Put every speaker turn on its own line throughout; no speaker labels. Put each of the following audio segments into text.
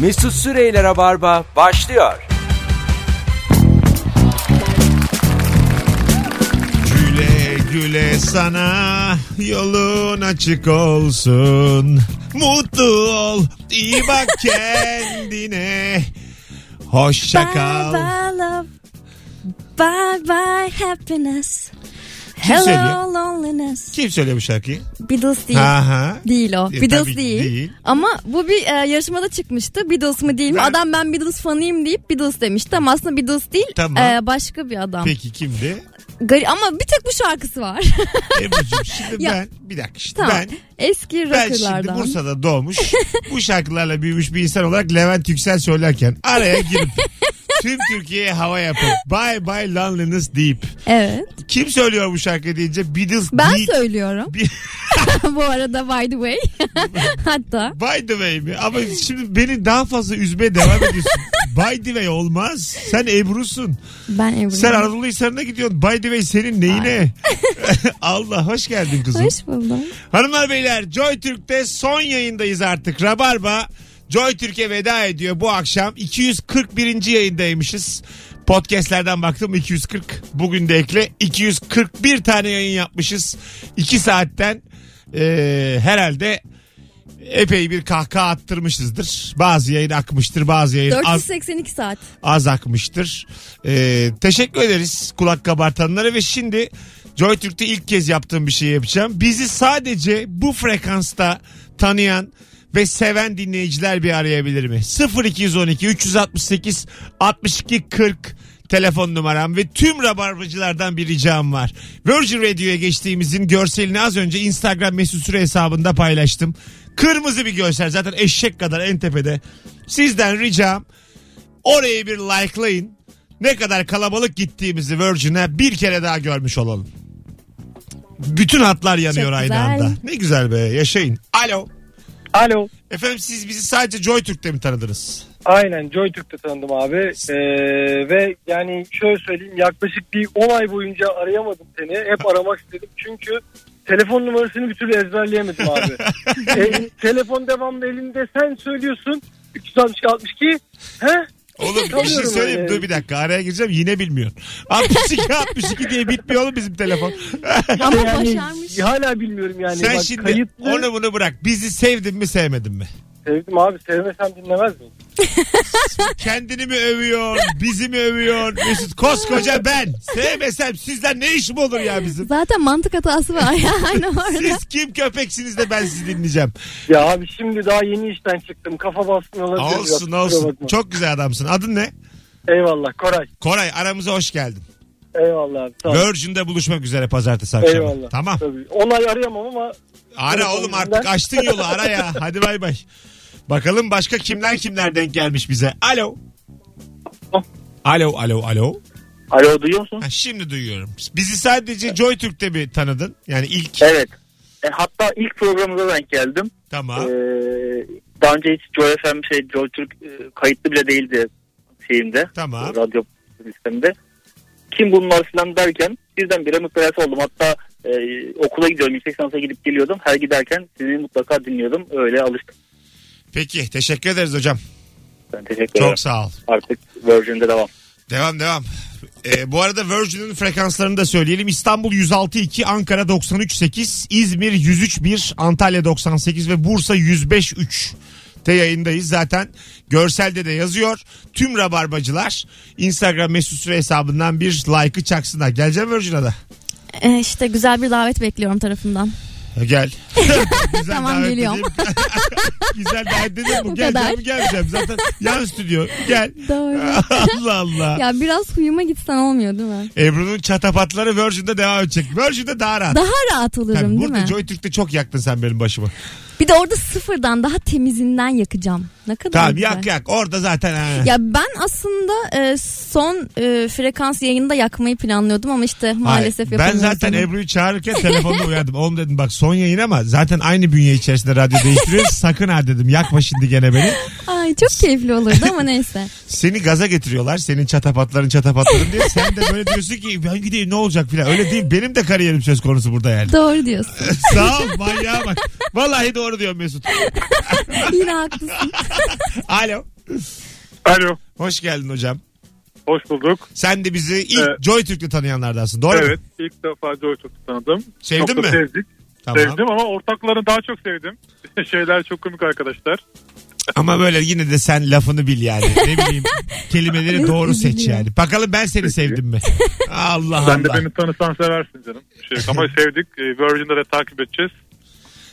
Mesut Süreyler'e barba başlıyor.
Güle güle sana yolun açık olsun. Mutlu ol, iyi bak kendine. Hoşça
Bye
kal.
bye love. Bye bye happiness. Hello
söylüyor?
loneliness.
Kim söylüyor bu şarkıyı?
Beatles değil.
Aha.
Değil o.
E,
Beatles
tabii
değil.
değil.
Ama bu bir e, yarışmada çıkmıştı. Beatles mı değil mi?
Ben-
Adam ben Beatles fanıyım deyip Beatles demişti ama aslında Beatles değil.
Tamam.
e, başka bir adam.
Peki kimdi?
Gari- ama bir tek bu şarkısı var.
Ebru'cum şimdi
Ya.
ben bir dakika işte
tamam.
ben
Eski
ben şimdi
rockerlardan.
Bursa'da doğmuş bu şarkılarla büyümüş bir insan olarak Levent Yüksel söylerken araya girip tüm Türkiye'ye hava yapıp bye bye loneliness deyip
Evet.
kim söylüyor bu şarkıyı deyince Beatles
Ben
değil.
söylüyorum.
Bir-
bu arada by the way. Hatta.
By the way mi? Ama şimdi beni daha fazla üzmeye devam ediyorsun. By the way olmaz. Sen Ebru'sun.
Ben Ebru'yum.
Sen Anadolu Hisarı'na gidiyorsun. By the way senin neyine? Allah hoş geldin kızım.
Hoş buldum.
Hanımlar beyler Joy Türk'te son yayındayız artık. Rabarba Joy Türk'e veda ediyor bu akşam. 241. yayındaymışız. Podcast'lerden baktım 240. Bugün de ekle 241 tane yayın yapmışız. 2 saatten eee, herhalde epey bir kahkaha attırmışızdır. Bazı yayın akmıştır, bazı yayın az,
482 saat.
az akmıştır. Ee, teşekkür ederiz kulak kabartanlara ve şimdi Joy Türk'te ilk kez yaptığım bir şey yapacağım. Bizi sadece bu frekansta tanıyan ve seven dinleyiciler bir arayabilir mi? 0212 368 62 40 telefon numaram ve tüm rabarbacılardan bir ricam var. Virgin Radio'ya geçtiğimizin görselini az önce Instagram mesut süre hesabında paylaştım. Kırmızı bir görsel zaten eşek kadar en tepede. Sizden ricam Orayı bir likelayın. Ne kadar kalabalık gittiğimizi Virgin'e bir kere daha görmüş olalım. Bütün hatlar yanıyor
Çok
aynı
güzel.
anda. Ne güzel be yaşayın. Alo.
Alo.
Efendim siz bizi sadece JoyTürk'te mi tanıdınız?
Aynen JoyTürk'te tanıdım abi. Ee, ve yani şöyle söyleyeyim yaklaşık bir 10 ay boyunca arayamadım seni. Hep aramak istedim çünkü telefon numarasını bir türlü ezberleyemedim abi. E, telefon devamlı elinde sen söylüyorsun. 362 62. He?
Oğlum bir şey
Tanıyorum
söyleyeyim.
öyle.
Dur bir dakika araya gireceğim yine bilmiyorsun. 62 62 diye bitmiyor oğlum bizim telefon.
Ama
yani,
başarmış.
Hala bilmiyorum yani.
Sen
Bak,
şimdi
kayıtlı.
onu bunu bırak. Bizi sevdin mi sevmedin mi?
Sevdim abi sevmesem dinlemez miyim?
Kendini mi övüyor, bizi mi övüyor? Mesut koskoca ben. Sevmesem sizden ne işim olur ya bizim?
Zaten mantık hatası var ya aynı orada.
Siz kim köpeksiniz de ben sizi dinleyeceğim.
Ya abi şimdi daha yeni işten çıktım. Kafa bastın olabilir. biraz,
olsun
kusura
olsun.
bakma.
Çok güzel adamsın. Adın ne?
Eyvallah Koray.
Koray aramıza hoş geldin.
Eyvallah abi. Sağ ol.
Virgin'de buluşmak üzere pazartesi akşamı.
Eyvallah.
Tamam.
Tabii. Onay arayamam ama
Ara
Telefon
oğlum
yüzünden.
artık açtın yolu ara ya. Hadi bay bay. Bakalım başka kimler kimler denk gelmiş bize. Alo. Alo alo alo.
Alo duyuyor musun?
Ha, şimdi duyuyorum. Bizi sadece Joy Türk'te mi tanıdın? Yani ilk.
Evet. E, hatta ilk programımıza denk geldim.
Tamam.
Ee, daha önce hiç Joy FM şey Joy Türk e, kayıtlı bile değildi şeyimde.
Tamam.
Radyo sisteminde. Kim bunlar filan derken birdenbire mutlayası oldum. Hatta e, okula gidiyorum. Yüksek sanata gidip geliyordum. Her giderken sizi mutlaka dinliyordum. Öyle alıştım.
Peki teşekkür ederiz hocam.
Ben teşekkür ederim.
Çok sağ ol.
Artık Virgin'de devam.
Devam devam. Ee, bu arada Virgin'in frekanslarını da söyleyelim. İstanbul 106.2, Ankara 93.8, İzmir 103.1, Antalya 98 ve Bursa 105.3 te yayındayız zaten. Görselde de yazıyor. Tüm rabarbacılar Instagram mesut süre hesabından bir like'ı çaksınlar. Geleceğim Virgin'a da.
Ee, işte güzel bir davet bekliyorum tarafından.
E, Gel. Güzel
Tamam,
davet
geliyorum.
edeyim. Güzel davet dedim bu.
Bu
Geleceğim
kadar.
geleceğim. Zaten yan stüdyo. Gel.
Doğru.
Allah Allah.
ya biraz huyuma gitsen olmuyor değil mi?
Ebru'nun çatapatları Virgin'de devam edecek. Virgin'de daha rahat.
Daha rahat olurum
Tabii
değil
burada
mi?
Joy Türk'te çok yaktın sen benim başıma.
Bir de orada sıfırdan daha temizinden yakacağım. Ne kadar
Tamam
güzel.
yak yak orada zaten ha.
Ya ben aslında e, son e, frekans yayında yakmayı planlıyordum ama işte maalesef
Ay, Ben
yapamıyorum
zaten
onu.
Ebru'yu çağırırken telefonda uyardım. Oğlum dedim bak son yayın ama zaten aynı bünye içerisinde radyo değiştiriyoruz. Sakın ha dedim yakma şimdi gene beni.
Ay çok keyifli olurdu ama neyse.
Seni gaza getiriyorlar senin çatapatların çatapatların diye. Sen de böyle diyorsun ki ben gideyim ne olacak filan. Öyle değil benim de kariyerim söz konusu burada yani.
Doğru diyorsun.
Sağ ol manyağa bak. Vallahi doğru diyor Mesut.
Yine haklısın.
Alo.
Alo.
Hoş geldin hocam.
Hoş bulduk.
Sen de bizi ilk
Evet.
Joy Türk'le tanıyanlardansın. Doğru mu?
evet. ilk defa Joytürk'ü tanıdım.
Sevdin
çok da
mi?
Sevdik.
Tamam.
Sevdim ama ortaklarını daha çok sevdim. Şeyler çok komik arkadaşlar.
Ama böyle yine de sen lafını bil yani. Ne bileyim. Kelimeleri doğru seç yani. Bakalım ben seni sevdim mi? Allah
Sen de
Allah.
beni tanısan seversin canım. Şey, ama sevdik. Ee, Virgin'de de takip edeceğiz.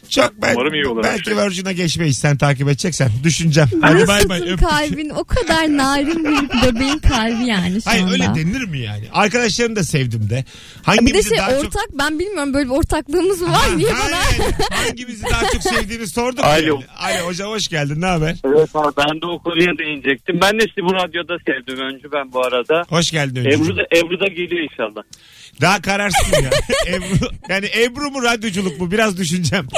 Çok ben,
Umarım iyi olur her
belki
şey.
Virgin'a geçmeyiz sen takip edeceksen. Düşüneceğim. Hadi bay bay.
Nasılsın
öptük.
kalbin? O kadar narin bir bebeğin kalbi yani şu
Hayır
anda.
öyle denir mi yani? Arkadaşlarını da sevdim de.
Bir de
Hangimizi
şey
daha çok...
ortak ben bilmiyorum böyle bir ortaklığımız mı var niye bana?
Hayır, Hangimizi daha çok sevdiğini sorduk.
Alo.
yani. Alo hocam hoş geldin. Ne haber?
Evet abi ben de o konuya değinecektim. Ben de sizi bu radyoda sevdim Öncü ben bu arada.
Hoş geldin
Ebru
Ebru
da, Ebru da geliyor inşallah.
Daha kararsın ya. Ebru, yani Ebru mu radyoculuk mu? Biraz düşüneceğim.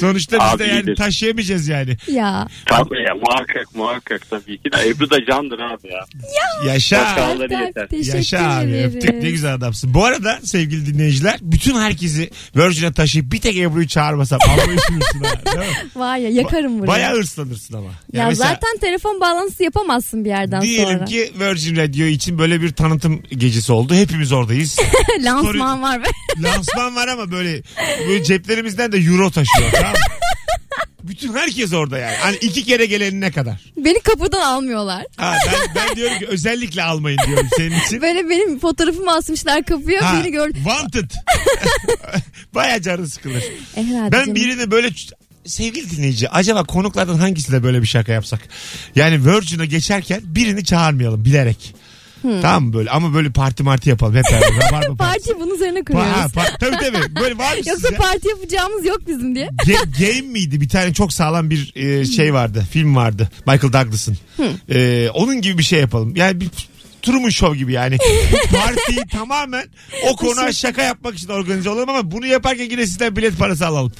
Sonuçta biz
Abi
de yani
iyidir.
taşıyamayacağız yani.
Ya
Tabii ya muhakkak muhakkak tabii ki de. Ebru da candır abi ya.
Yaşa.
Sağları yeter.
Alper, teşekkür
Yaşa abi
ederim.
öptük ne güzel adamsın. Bu arada sevgili dinleyiciler bütün herkesi Virgin'e taşıyıp bir tek Ebru'yu çağırmasam abla üşürsün ha. Değil mi?
Var ya yakarım burayı.
Bayağı hırslanırsın ama.
ya
Yani mesela-
zaten telefon bağlantısı yapamazsın bir yerden
Diyelim
sonra.
ki Virgin Radio için böyle bir tanıtım gecesi oldu. Hepimiz oradayız.
Lansman var ve
Lansman var ama böyle, böyle ceplerimizden de euro taşıyor. Tamam. mı? Bütün herkes orada yani. Hani iki kere gelenine kadar.
beni kapıdan almıyorlar.
Ha, ben, ben diyorum ki özellikle almayın diyorum senin için.
Böyle benim fotoğrafımı asmışlar kapıya
Ha,
beni gördü.
Wanted. Baya canı sıkılır.
E, herhalde
Ben
canım.
birini böyle sevgili dinleyici acaba konuklardan hangisiyle böyle bir şaka yapsak? Yani Virgin'e geçerken birini çağırmayalım bilerek. Tamam mı böyle ama böyle parti marti yapalım hep beraber. Rabarba partisi.
Hmm. Parti bunun üzerine
Pa- ha,
kuruyoruz.
pa- tabii tabii. Böyle var mı
Yoksa
size?
parti yapacağımız yok bizim diye.
Ge- Game miydi? Bir tane çok sağlam bir e, şey vardı. Film vardı. Michael Douglas'ın. E, onun gibi bir şey yapalım. Yani bir Truman Show gibi yani. Partiyi tamamen o konu şaka yapmak için organize olalım ama bunu yaparken yine sizden bilet parası alalım.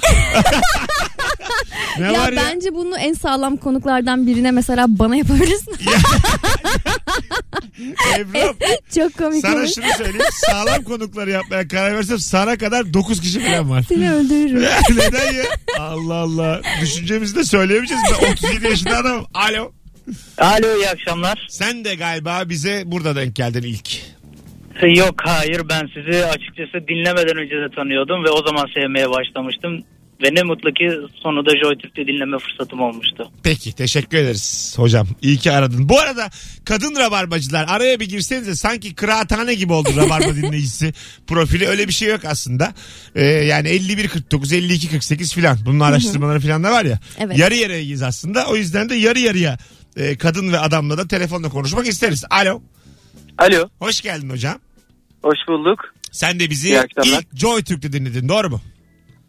ne
ya
var ya?
bence bunu en sağlam konuklardan birine mesela bana yapabilirsin.
Ebru,
Çok komik
sana
olur.
şunu söyleyeyim. Sağlam konukları yapmaya karar versem sana kadar 9 kişi falan var.
Seni öldürürüm.
Ya Neden ya? Allah Allah. Düşüncemizi de söyleyemeyeceğiz. Ben 37 yaşında adamım. Alo.
Alo iyi akşamlar.
Sen de galiba bize burada denk geldin ilk.
Yok hayır ben sizi açıkçası dinlemeden önce de tanıyordum ve o zaman sevmeye başlamıştım. Ve ne mutlu ki sonunda Joytürk'te dinleme fırsatım olmuştu.
Peki teşekkür ederiz hocam. İyi ki aradın. Bu arada kadın rabarbacılar araya bir girsenize sanki kıraathane gibi oldu rabarba dinleyicisi profili. Öyle bir şey yok aslında. Ee, yani 51-49, 52-48 filan. Bunun araştırmaları filan da var ya.
Evet.
Yarı yarıyayız aslında. O yüzden de yarı yarıya e, kadın ve adamla da telefonla konuşmak isteriz. Alo.
Alo.
Hoş geldin hocam.
Hoş bulduk.
Sen de bizi
İyi akşamlar.
ilk Joy Türk'te dinledin doğru mu?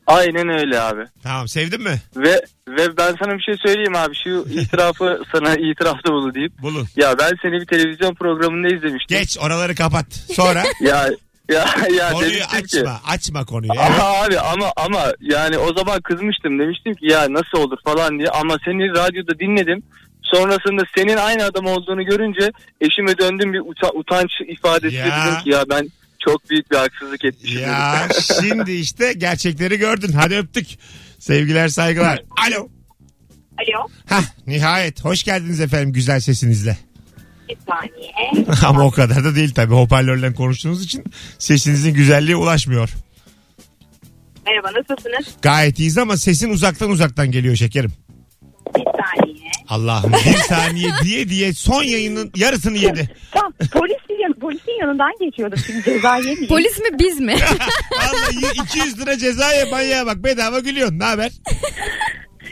Aynen öyle abi.
Tamam sevdin mi?
Ve ve ben sana bir şey söyleyeyim abi. Şu itirafı sana itirafta bulu deyip.
Bulun.
Ya ben seni bir televizyon programında izlemiştim.
Geç oraları kapat. Sonra
Ya ya ya
konuyu
demiştim ki.
açma. Açma konuyu. Evet.
Aha abi ama ama yani o zaman kızmıştım demiştim ki ya nasıl olur falan diye ama seni radyoda dinledim. Sonrasında senin aynı adam olduğunu görünce eşime döndüm bir uta- utanç ifadesi
Ya.
dedim ki ya ben çok büyük bir haksızlık etmişim. dedim.
Ya şimdi işte gerçekleri gördün. Hadi öptük. Sevgiler saygılar. Alo.
Alo.
Hah nihayet. Hoş geldiniz efendim güzel sesinizle.
Bir saniye.
Ama o kadar da değil tabii. Hoparlörle konuştuğunuz için sesinizin güzelliğe ulaşmıyor.
Merhaba nasılsınız?
Gayet iyiyiz ama sesin uzaktan uzaktan geliyor şekerim.
Bir saniye.
Allah'ım bir saniye diye diye son yayının yarısını yedi.
Tamam polisin, yan- polisin yanından geçiyordum şimdi ceza yemeyeyim.
Polis mi biz mi?
Vallahi 200 lira cezaya manyağa bak bedava gülüyorsun. Ne haber?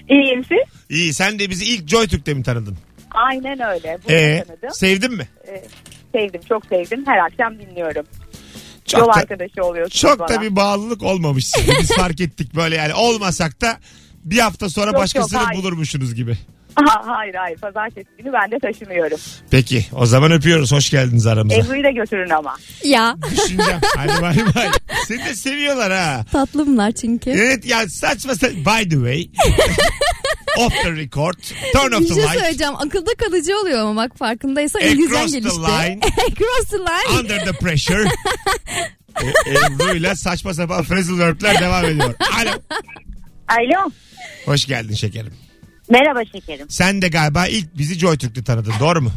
İyiyim siz?
İyi sen de bizi ilk JoyTürk'te mi tanıdın?
Aynen öyle. Bunu
Ee,
tanıdım.
sevdin mi?
Sevdim çok sevdim. Her akşam dinliyorum.
Çok
Yol
da-
arkadaşı oluyorsunuz
Çok
bana.
da bir bağlılık olmamış. Biz fark ettik böyle yani olmasak da bir hafta sonra
Yok, yok,
başkasını
hayır.
bulurmuşsunuz gibi.
Ha, hayır hayır pazartesi günü ben de taşınıyorum.
Peki o zaman öpüyoruz. Hoş geldiniz aramıza.
Ebru'yu da götürün ama.
ya
Düşüneceğim. Hadi bay bay. Seni de seviyorlar ha.
tatlımlar çünkü.
Evet ya saçma sa- By the way. off the record. Turn off
Bir
the
şey
light.
söyleyeceğim. Akılda kalıcı oluyor ama bak farkındaysan
Across
İngilizcen
the
gelişti.
line.
Across the line.
Under the pressure. E, Ebru'yla saçma sapan phrasal verb'ler devam ediyor. Alo.
Alo.
Hoş geldin şekerim.
Merhaba şekerim.
Sen de galiba ilk bizi JoyTürk'te tanıdın doğru mu?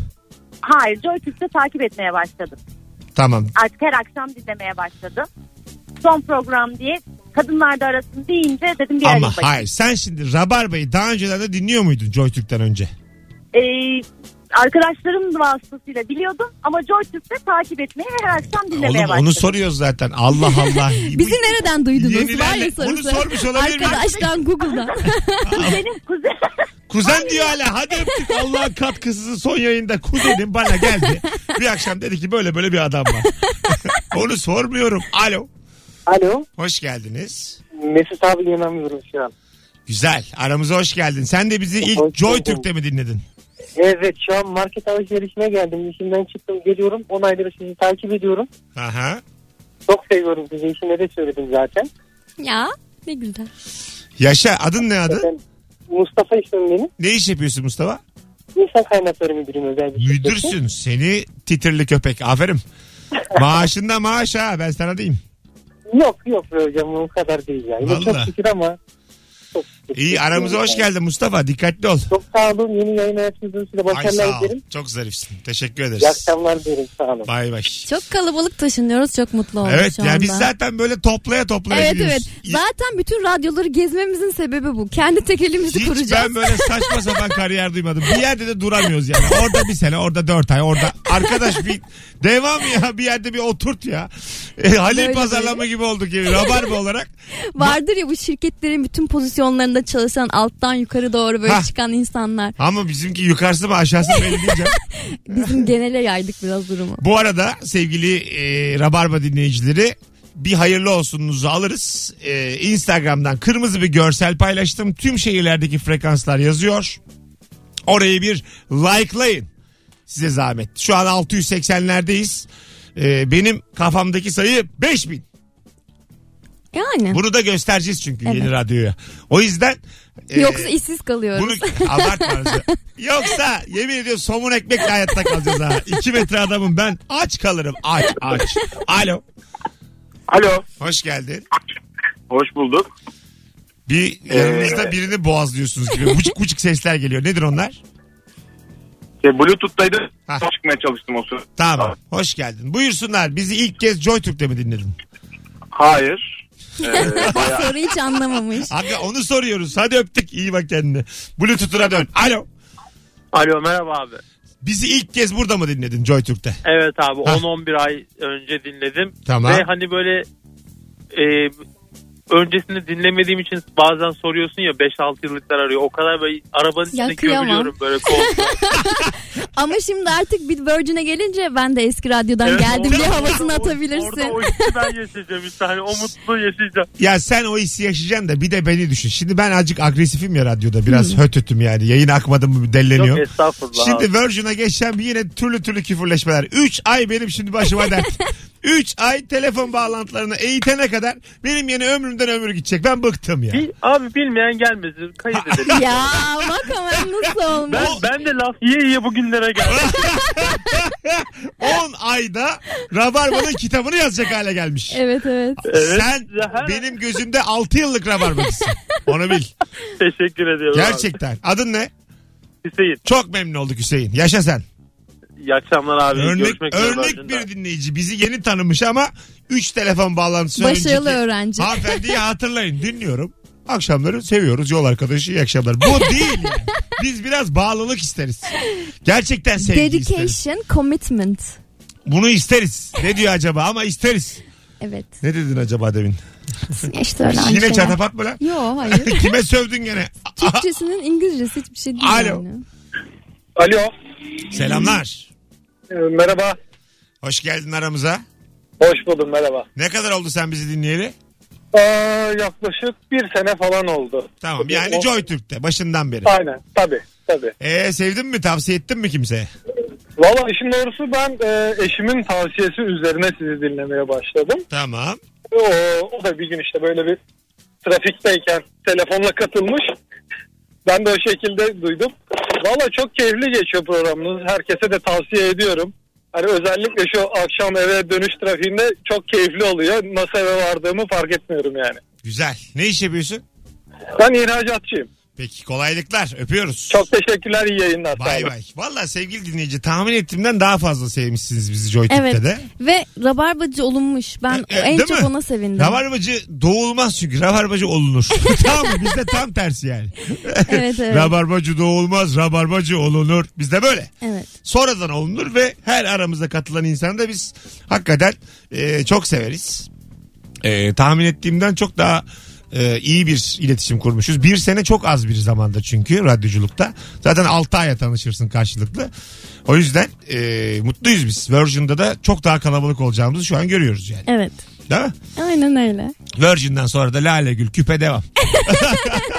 Hayır Joytürk'te takip etmeye başladım.
Tamam.
Artık her akşam dinlemeye başladım. Son program diye kadınlar da arasın deyince dedim bir arayayım
Ama
bakayım.
hayır sen şimdi Rabarba'yı daha önceden de dinliyor muydun JoyTürk'ten önce?
Ee, arkadaşlarım vasıtasıyla biliyordum ama Joytürk'te takip etmeye ve her akşam dinlemeye
Oğlum
başladım.
onu soruyoruz zaten Allah Allah.
Bizi nereden duydunuz? Var
Yenilerle-
ya
Bunu
sorusu.
sormuş olabilir miyim?
Arkadaştan Google'dan.
Kuzenim kuzen.
Kuzen diyor hala hadi öptük Allah'ın katkısızı son yayında kuzenim bana geldi. Bir akşam dedi ki böyle böyle bir adam var. Onu sormuyorum. Alo.
Alo.
Hoş geldiniz.
Mesut abi yememiyorum şu an.
Güzel. Aramıza hoş geldin. Sen de bizi ilk
Hoş
Joy
buldum.
Türk'te mi dinledin?
Evet şu an market alışverişine geldim. İşimden çıktım geliyorum. 10 aydır sizi takip ediyorum.
Aha.
Çok seviyorum sizi. İşimde de söyledim zaten.
ya ne güzel.
Yaşa. Adın ne adı?
Ben Mustafa ismim benim.
Ne iş yapıyorsun Mustafa?
İnsan kaynakları müdürüm özel bir şirkette.
Müdürsün. Seni titirli köpek. Aferin. Maaşında maaş ha. Ben sana diyeyim.
Yok yok be hocam o kadar değil ya. Yine Çok
Vallahi.
şükür ama. Çok şükür.
İyi aramıza hoş geldin Mustafa. Dikkatli ol.
Çok sağ olun. Yeni yayın hayatınızın size
Ay
başarılar
sağ ol.
dilerim.
Çok zarifsin. Teşekkür
İyi
ederiz.
akşamlar dilerim. Sağ olun.
Bay bay.
Çok kalabalık taşınıyoruz. Çok mutlu olduk
Evet
şu
ya
anda.
biz zaten böyle toplaya toplaya
Evet
gidiyoruz.
evet. Zaten bütün radyoları gezmemizin sebebi bu. Kendi tek elimizi
Hiç
kuracağız.
ben böyle saçma sapan kariyer duymadım. Bir yerde de duramıyoruz yani. Orada bir sene, orada dört ay, orada. Arkadaş bir devam ya bir yerde bir oturt ya. E, Halil
Böyle
pazarlama gibi olduk yani rabarba olarak.
Vardır ya bu şirketlerin bütün pozisyonlarında çalışan alttan yukarı doğru böyle
Hah.
çıkan insanlar.
Ama bizimki yukarısı mı aşağısı mı belli değil canım.
Bizim genele yaydık biraz durumu.
Bu arada sevgili e, Rabarba dinleyicileri bir hayırlı olsununuzu alırız. E, Instagram'dan kırmızı bir görsel paylaştım. Tüm şehirlerdeki frekanslar yazıyor. Orayı bir likelayın. Size zahmet. Şu an 680'lerdeyiz. E, benim kafamdaki sayı 5000.
Yani.
Bunu da göstereceğiz çünkü yeni
Evet.
radyoya. O yüzden e,
Yoksa işsiz kalıyoruz.
bunu abartmanızı. Yoksa yemin ediyorum somun ekmekle hayatta kalacağız ha. İki metre adamım ben aç kalırım aç aç. Alo
Alo.
hoş geldin.
Hoş bulduk.
Bir yanınızda birini boğazlıyorsunuz gibi. Buçuk buçuk sesler geliyor. Nedir onlar?
E, Bluetooth'taydı.
Ha.
Çıkmaya çalıştım o sırada.
Tamam. Hoş geldin. Buyursunlar. Bizi ilk kez JoyTürk'te mi dinledin?
Hayır.
Soru hiç anlamamış.
Abi onu soruyoruz. Hadi öptük. İyi bak kendine. Bluetooth'una dön. Alo.
Alo merhaba abi.
Bizi ilk kez burada mı dinledin JoyTürk'te?
Evet abi
Hah.
10-11 ay önce dinledim.
Tamam.
Ve hani böyle e, öncesinde dinlemediğim için bazen soruyorsun ya 5-6 yıllıklar arıyor. O kadar böyle arabanın
Ya
içinde
kıyamam.
gömülüyorum böyle koltuğa.
Ama şimdi artık bir Virgin'e gelince ben de eski radyodan
Evet,
geldim
orada-
diye havasını
orada-
atabilirsin.
Orada o hissi ben yaşayacağım işte. Hani o mutluluğu yaşayacağım.
Ya sen o hissi yaşayacaksın da bir de beni düşün. Şimdi ben azıcık agresifim ya radyoda. Biraz hötötüm yani. Yayın akmadım mı delleniyor.
Yok estağfurullah. abi.
Şimdi Virgin'a geçen bir yine türlü türlü küfürleşmeler. 3 ay benim şimdi başıma dert. 3 ay telefon bağlantılarını eğitene kadar benim yeni ömrümden ömür gidecek. Ben bıktım ya.
Bil- abi bilmeyen gelmesin. Kayıt edelim.
ya bak ama nasıl olmuş.
ben, ben de laf yiye yiye bugünlere geldim.
10 ayda Rabarba'nın kitabını yazacak hale gelmiş.
Evet evet.
Evet.
Sen
Her-
benim gözümde 6 yıllık Rabarba'cısın. Onu bil.
Teşekkür ediyorum abi.
Gerçekten. Adın ne?
Hüseyin.
Çok memnun olduk Hüseyin. Yaşa sen.
İyi akşamlar abi.
örnek
Görüşmek üzere.
örnek
Virgin'den.
bir dinleyici. Bizi yeni tanımış ama 3 telefon bağlantısı
Başarılı
önceki-
öğrenci.
Hanımefendiyi hatırlayın dinliyorum. Akşamları seviyoruz yol arkadaşı iyi akşamlar. Bu değil yani. Biz biraz bağlılık isteriz. Gerçekten sevgi isteriz.
Dedication, commitment.
Bunu isteriz. Ne diyor acaba ama isteriz.
Evet.
Ne dedin acaba demin?
İşte öyle aynı
Yine
şeyler.
çatapat mı lan?
Yo hayır.
Kime sövdün gene?
Türkçesinin İngilizcesi hiçbir şey değil
Alo.
yani.
Alo.
Selamlar.
Ee, merhaba.
Hoş geldin aramıza.
Hoş buldum merhaba.
Ne kadar oldu sen bizi dinleyeli?
Ee, yaklaşık bir sene falan oldu.
Tamam yani JoyTürk'te başından beri.
Aynen tabii tabii.
Ee, sevdin mi tavsiye ettin mi kimseye?
Valla işin doğrusu ben e, eşimin tavsiyesi üzerine sizi dinlemeye başladım.
Tamam.
O, o da bir gün işte böyle bir trafikteyken telefonla katılmış. Ben de o şekilde duydum. Valla çok keyifli geçiyor programınız. Herkese de tavsiye ediyorum. Hani özellikle şu akşam eve dönüş trafiğinde çok keyifli oluyor. Nasıl eve vardığımı fark etmiyorum yani.
Güzel. Ne iş yapıyorsun?
Ben ihracatçıyım.
Peki kolaylıklar. Öpüyoruz.
Çok teşekkürler iyi yayınlar. Sağ
Bay
olun.
bay. Valla sevgili dinleyici tahmin ettiğimden daha fazla sevmişsiniz bizi Joytürk'te
Evet.
de.
Ve rabarbacı olunmuş. Ben
E, e,
en
değil
çok
mi?
ona sevindim.
Rabarbacı doğulmaz çünkü. Rabarbacı olunur. tam bizde tam tersi yani.
Evet evet.
Rabarbacı doğulmaz. Rabarbacı olunur. Bizde böyle.
evet.
Sonradan olunur ve her aramıza katılan insanı da biz hakikaten e, çok severiz. E, tahmin ettiğimden çok daha e, iyi bir iletişim kurmuşuz. Bir sene çok az bir zamanda çünkü radyoculukta. Zaten 6 aya tanışırsın karşılıklı. O yüzden e, mutluyuz biz. Virgin'da da çok daha kalabalık olacağımızı şu an görüyoruz yani.
Evet.
Değil mi?
Aynen öyle.
Virgin'den sonra da Lale Gül küpe devam.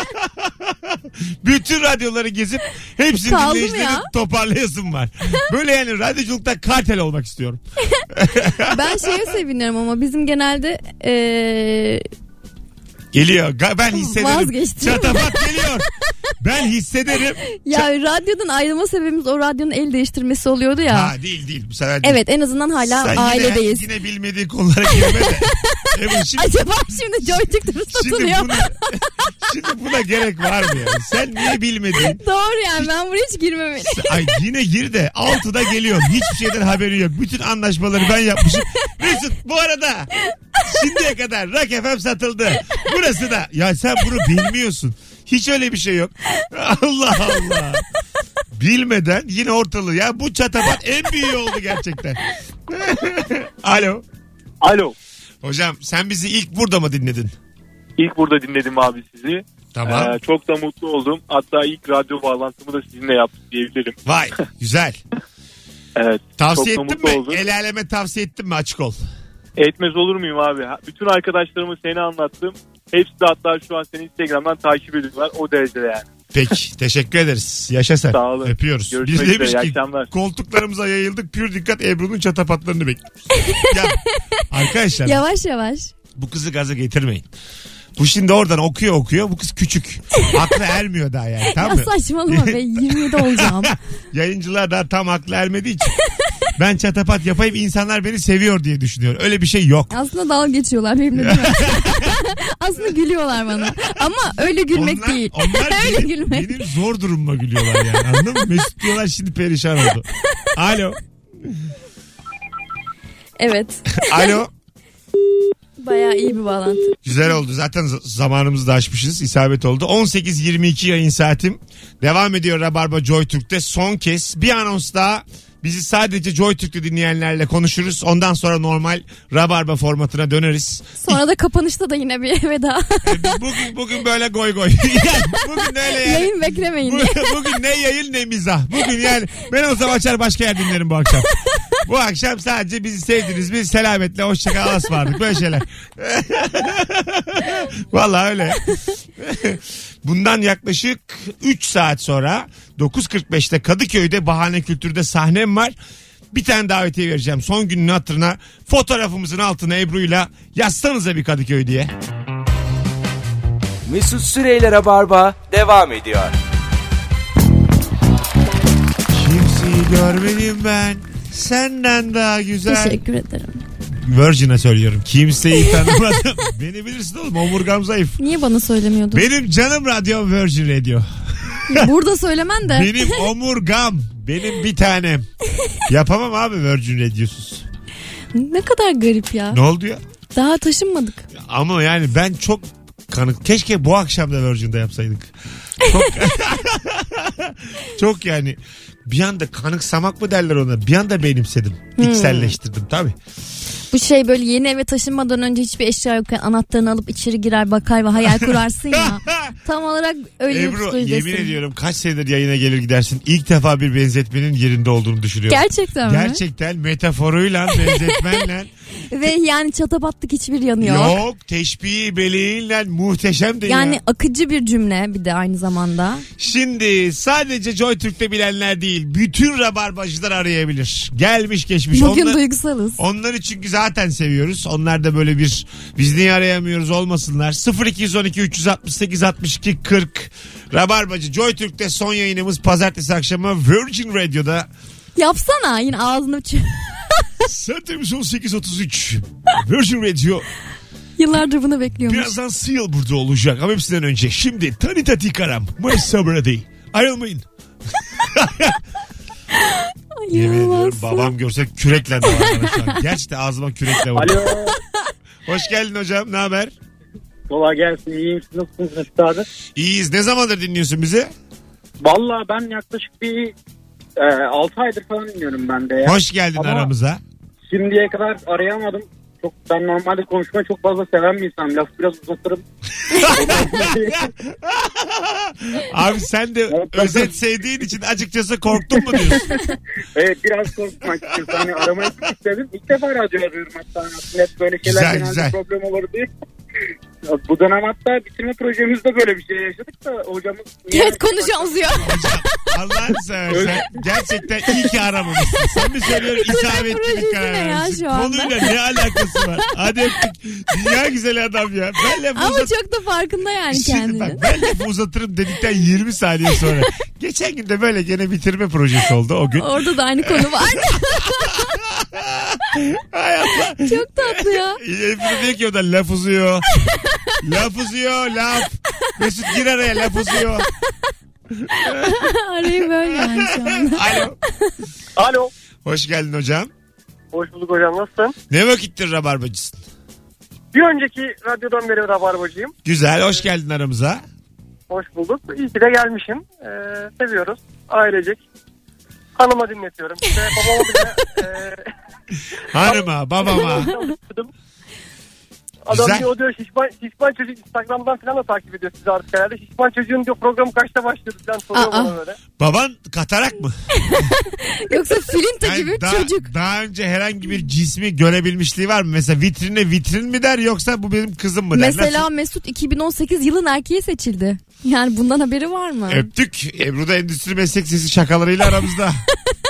Bütün radyoları gezip hepsini
Kaldı mı
dinleyicilerin
ya?
toparlayasım var. Böyle yani radyoculukta kartel olmak istiyorum.
Ben şeye seviniyorum ama bizim genelde e, eee,
Geliyor. Ga- Ben hissederim.
Vazgeçtim.
Çatapat geliyor. Ben hissederim.
ya radyodan ayrılma sebebimiz o radyonun el değiştirmesi oluyordu ya.
Ha değil değil. Bu sefer değil.
evet en azından hala
Sen
ailedeyiz.
Yine, yine bilmediği konulara girme de. Ebru, şimdi,
Acaba şimdi joystick durumu
şimdi,
satılıyor. mu?
buna, şimdi buna gerek var mı yani? Sen niye bilmediğin
Doğru yani ben buraya hiç girmemeliyim.
Ay yine gir de altıda geliyor. Hiçbir şeyden haberi yok. Bütün anlaşmaları ben yapmışım. Mesut bu arada şimdiye kadar Rock FM satıldı. Burası da. Ya sen bunu bilmiyorsun. Hiç öyle bir şey yok. Allah Allah. Bilmeden yine ortalığı. Ya bu çatapat en büyüğü oldu gerçekten. Alo.
Alo.
Hocam sen bizi ilk burada mı dinledin?
İlk burada dinledim abi sizi.
Tamam.
Ee, çok da mutlu oldum. Hatta ilk radyo bağlantımı da sizinle yaptım diyebilirim.
Vay güzel.
Evet.
Tavsiye
Çok da
ettin mi?
mutlu oldum.
El aleme tavsiye ettin mi? Açık ol.
Etmez olur muyum abi? Ha- Bütün arkadaşlarımı seni anlattım. Hepsi de hatta şu an seni Instagram'dan takip ediyorlar. O derecede yani.
Peki teşekkür ederiz. Yaşa sen.
Sağ olun.
Öpüyoruz.
Görüşmek
Biz demiş
üzere, iyi
ki
akşamlar.
koltuklarımıza yayıldık. Pür dikkat Ebru'nun çatapatlarını bekliyoruz. ya, arkadaşlar
Yavaş yavaş.
bu kızı gaza getirmeyin. Bu şimdi oradan okuyor okuyor. Bu kız küçük. Aklı ermiyor daha yani. Tamam mı?
Ya saçmalama be 27 olacağım.
Yayıncılar daha tam aklı ermediği için. Ben çatapat yapayım insanlar beni seviyor diye düşünüyor. Öyle bir şey yok.
Aslında dalga geçiyorlar benimle değil mi? Aslında gülüyorlar bana. Ama öyle gülmek
onlar,
değil.
Onlar
öyle
benim,
gülmek.
benim zor durumuma gülüyorlar yani anladın mı? Mesut diyorlar şimdi perişan oldu. Alo.
Evet.
Alo.
Bayağı iyi bir bağlantı.
Güzel oldu. Zaten z- zamanımızı da aşmışız. İsabet oldu. 18.22 yayın saatim. Devam ediyor Rabarba Joy Türk'te. Son kez bir anons daha. Bizi sadece Joy Türk'te dinleyenlerle konuşuruz. Ondan sonra normal Rabarba formatına döneriz.
Sonra da kapanışta da yine bir veda.
E, biz bugün bugün böyle goy goy. Yani bugün öyle yani.
Yayın beklemeyin diye.
Bu- bugün ne yayın ne mizah. Bugün yani ben olsam açar başka yer dinlerim bu akşam. Bu akşam sadece bizi sevdiniz. Biz selametle hoşçakal alas vardık. Böyle şeyler. Vallahi öyle. Bundan yaklaşık 3 saat sonra 9.45'te Kadıköy'de Bahane Kültür'de sahnem var. Bir tane davetiye vereceğim. Son günün hatırına fotoğrafımızın altına Ebru'yla yazsanıza bir Kadıköy diye.
Mesut Süreyler'e barba devam ediyor.
Kimseyi görmedim ben. Senden daha güzel.
Teşekkür ederim.
Virgin'e söylüyorum. Kimseyi tanımadım. Beni bilirsin oğlum omurgam zayıf.
Niye bana söylemiyordun?
Benim canım radyo Virgin Radio.
Burada söylemen de.
Benim omurgam. Benim bir tanem. Yapamam abi Virgin Radio'suz.
Ne kadar garip ya.
Ne oldu ya?
Daha taşınmadık.
Ama yani ben çok kanık. Keşke bu akşam da Virgin'de yapsaydık. Çok, çok yani bir anda kanıksamak mı derler ona? Bir anda benimsedim. İçselleştirdim tabii.
Bu şey böyle yeni eve taşınmadan önce hiçbir eşya yokken anahtarını alıp içeri girer bakar ve hayal kurarsın ya. Tam olarak öyle bir
Ebru
psikolojideysin.
yemin ediyorum kaç senedir yayına gelir gidersin. İlk defa bir benzetmenin yerinde olduğunu düşünüyorum.
Gerçekten mi?
Gerçekten metaforuyla benzetmenle
Ve yani çatabatlık hiçbir yanı yok.
yok teşbihi beliğiyle muhteşem değil
Yani
ya.
akıcı bir cümle bir de aynı zamanda.
Şimdi sadece Joy Türk'te bilenler değil bütün rabarbacılar arayabilir. Gelmiş geçmiş.
Bugün
Onlar-
duygusalız.
Onları çünkü zaten seviyoruz. Onlar da böyle bir biz niye arayamıyoruz olmasınlar. 0212 368 62 40 Rabarbacı Joy Türk'te son yayınımız pazartesi akşamı Virgin Radio'da
Yapsana yine ağzını ç-
Saatimiz 18.33. Virgin Radio.
Yıllardır bunu bekliyormuş.
Birazdan Seal burada olacak ama hepsinden önce. Şimdi Tani Tati Karam. Mayıs değil. Ayrılmayın.
Ay,
Yemin ediyorum
inanılmaz.
babam görse kürekle de var. Gerçekten ağzıma kürekle var.
Alo.
Hoş geldin hocam. Ne haber?
Kolay gelsin. İyiyim. Siz nasılsınız Mesut abi?
İyiyiz. Ne zamandır dinliyorsun bizi?
Valla ben yaklaşık bir e, 6 aydır falan dinliyorum ben de. ya.
Hoş geldin
Ama-
aramıza.
Şimdiye kadar arayamadım. Çok, ben normalde konuşmayı çok fazla seven bir insanım. Lafı biraz uzatırım.
Abi sen de özet sevdiğin için açıkçası korktun mu diyorsun?
Evet biraz korkmak istiyorum. Hani aramayı çok istedim. İlk defa radyo arıyorum hatta. Net böyle şeyler
Güzel,
genelde
güzel.
problem olur diye. Ya Bu dönem hatta bitirme projemizde böyle bir şey yaşadık da hocamız...
Evet konuşa uzuyor.
Allah'ını seversen gerçekten iyi ki aramamışsın. Sen mi söylüyorsun isabetli
projesi
bir
ne
karar
ya
vermişsin.
şu anda?
Konuyla ne alakası var? Hadi öptük. Dünya güzel adam ya. Ben lafı
Ama
uzat-
çok da farkında yani
Şimdi
kendini.
bak ben lafı uzatırım dedikten 20 saniye sonra. Geçen gün de böyle gene bitirme projesi oldu o gün.
Orada da aynı konu var.
Hay Allah.
çok tatlı ya.
Hepsi diyor ki o da laf uzuyor. laf uzuyor laf. Mesut gir araya laf uzuyor.
Arayı böyle yani şu an.
Alo.
Alo.
Hoş geldin hocam.
Hoş bulduk hocam nasılsın?
Ne vakittir rabarbacısın?
Bir önceki radyodan beri rabarbacıyım.
Güzel hoş geldin aramıza.
Hoş bulduk. İyi ki de gelmişim. Ee, seviyoruz. Ailecek. Hanıma dinletiyorum. İşte babama bile... e,
Hanıma babama.
Adam
Güzel.
diyor, o diyor şişman, şişman çocuk Instagram'dan falan da takip ediyor sizi artık herhalde. Şişman çocuğun diyor programı kaçta başlıyor falan soruyor
Aa.
bana böyle.
Baban katarak mı?
Yoksa filinta gibi
Yani daha,
çocuk.
Daha önce herhangi bir cismi görebilmişliği var mı? Mesela vitrine vitrin mi der yoksa bu benim kızım mı der?
Mesela
Nasıl?
Mesut 2018 yılın erkeği seçildi. Yani bundan haberi var mı?
Öptük. Ebru da endüstri meslek sesi şakalarıyla aramızda.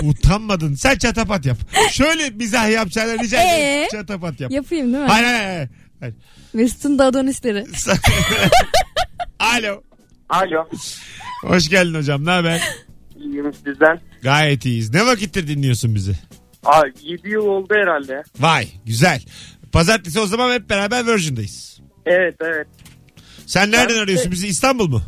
Utanmadın. Sen çatapat yap. Şöyle mizah yapacağını rica ederim.
Ee?
Çatapat yap.
Yapayım değil mi?
Hayır hayır hayır. hayır.
Mesut'un da adonisleri.
Alo.
Alo.
Hoş geldin hocam. Ne haber?
İyiyim sizden.
Gayet iyiyiz. Ne vakittir dinliyorsun bizi?
Aa, 7 yıl oldu herhalde.
Vay güzel. Pazartesi o zaman hep beraber Virgin'dayız.
Evet evet.
Sen nereden
Ben-
arıyorsun bizi? İstanbul mu?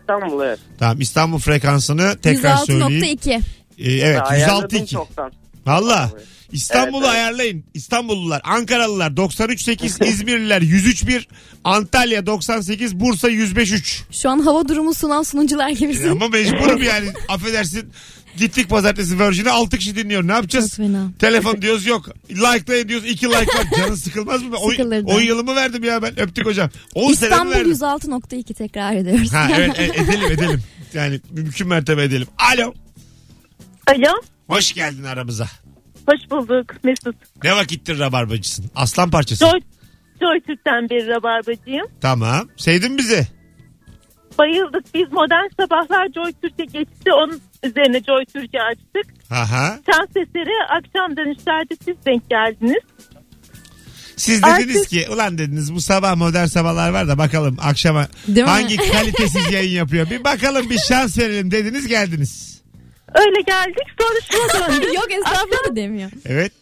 İstanbul evet.
Tamam İstanbul frekansını tekrar söyleyeyim.
106.2.
Ee, evet 106.2.
çoktan.
Valla. İstanbul'u
Evet, evet.
ayarlayın. İstanbullular, Ankaralılar 93.8, İzmirliler 103.1, Antalya 98, Bursa 105.3.
Şu an hava durumu sunan sunucular
E
gibisin.
Ama mecburum yani. Affedersin. Gittik pazartesi Virgin'e 6 kişi dinliyor. Ne yapacağız?
Çok fena.
Telefon diyoruz yok. Like'layın diyoruz. 2 like var. Canın sıkılmaz mı? O,
Sıkılırdı.
o yılımı verdim ya ben. Öptük hocam. 10 senemi
İstanbul
verdim.
106.2 tekrar ediyoruz.
Ha evet e- edelim edelim. Yani mümkün mertebe edelim. Alo.
Alo.
Hoş geldin aramıza.
Hoş bulduk Mesut.
Ne vakittir rabarbacısın? Aslan parçası.
Joy, Joy Türk'ten bir rabarbacıyım.
Tamam. Sevdin bizi.
Bayıldık. Biz modern sabahlar Joy Türk'e geçti. Onun üzerine Joy Türk'e açtık.
Aha.
Şans eseri akşam dönüşlerde siz denk geldiniz.
Siz dediniz
Artık-
ki ulan dediniz bu sabah modern sabahlar var da bakalım akşama
Değil mi?
hangi kalitesiz yayın yapıyor. Bir bakalım bir şans verelim dediniz geldiniz.
Öyle geldik. Sonra şuna döndük.
Yok estağfurullah da demiyor.
Evet.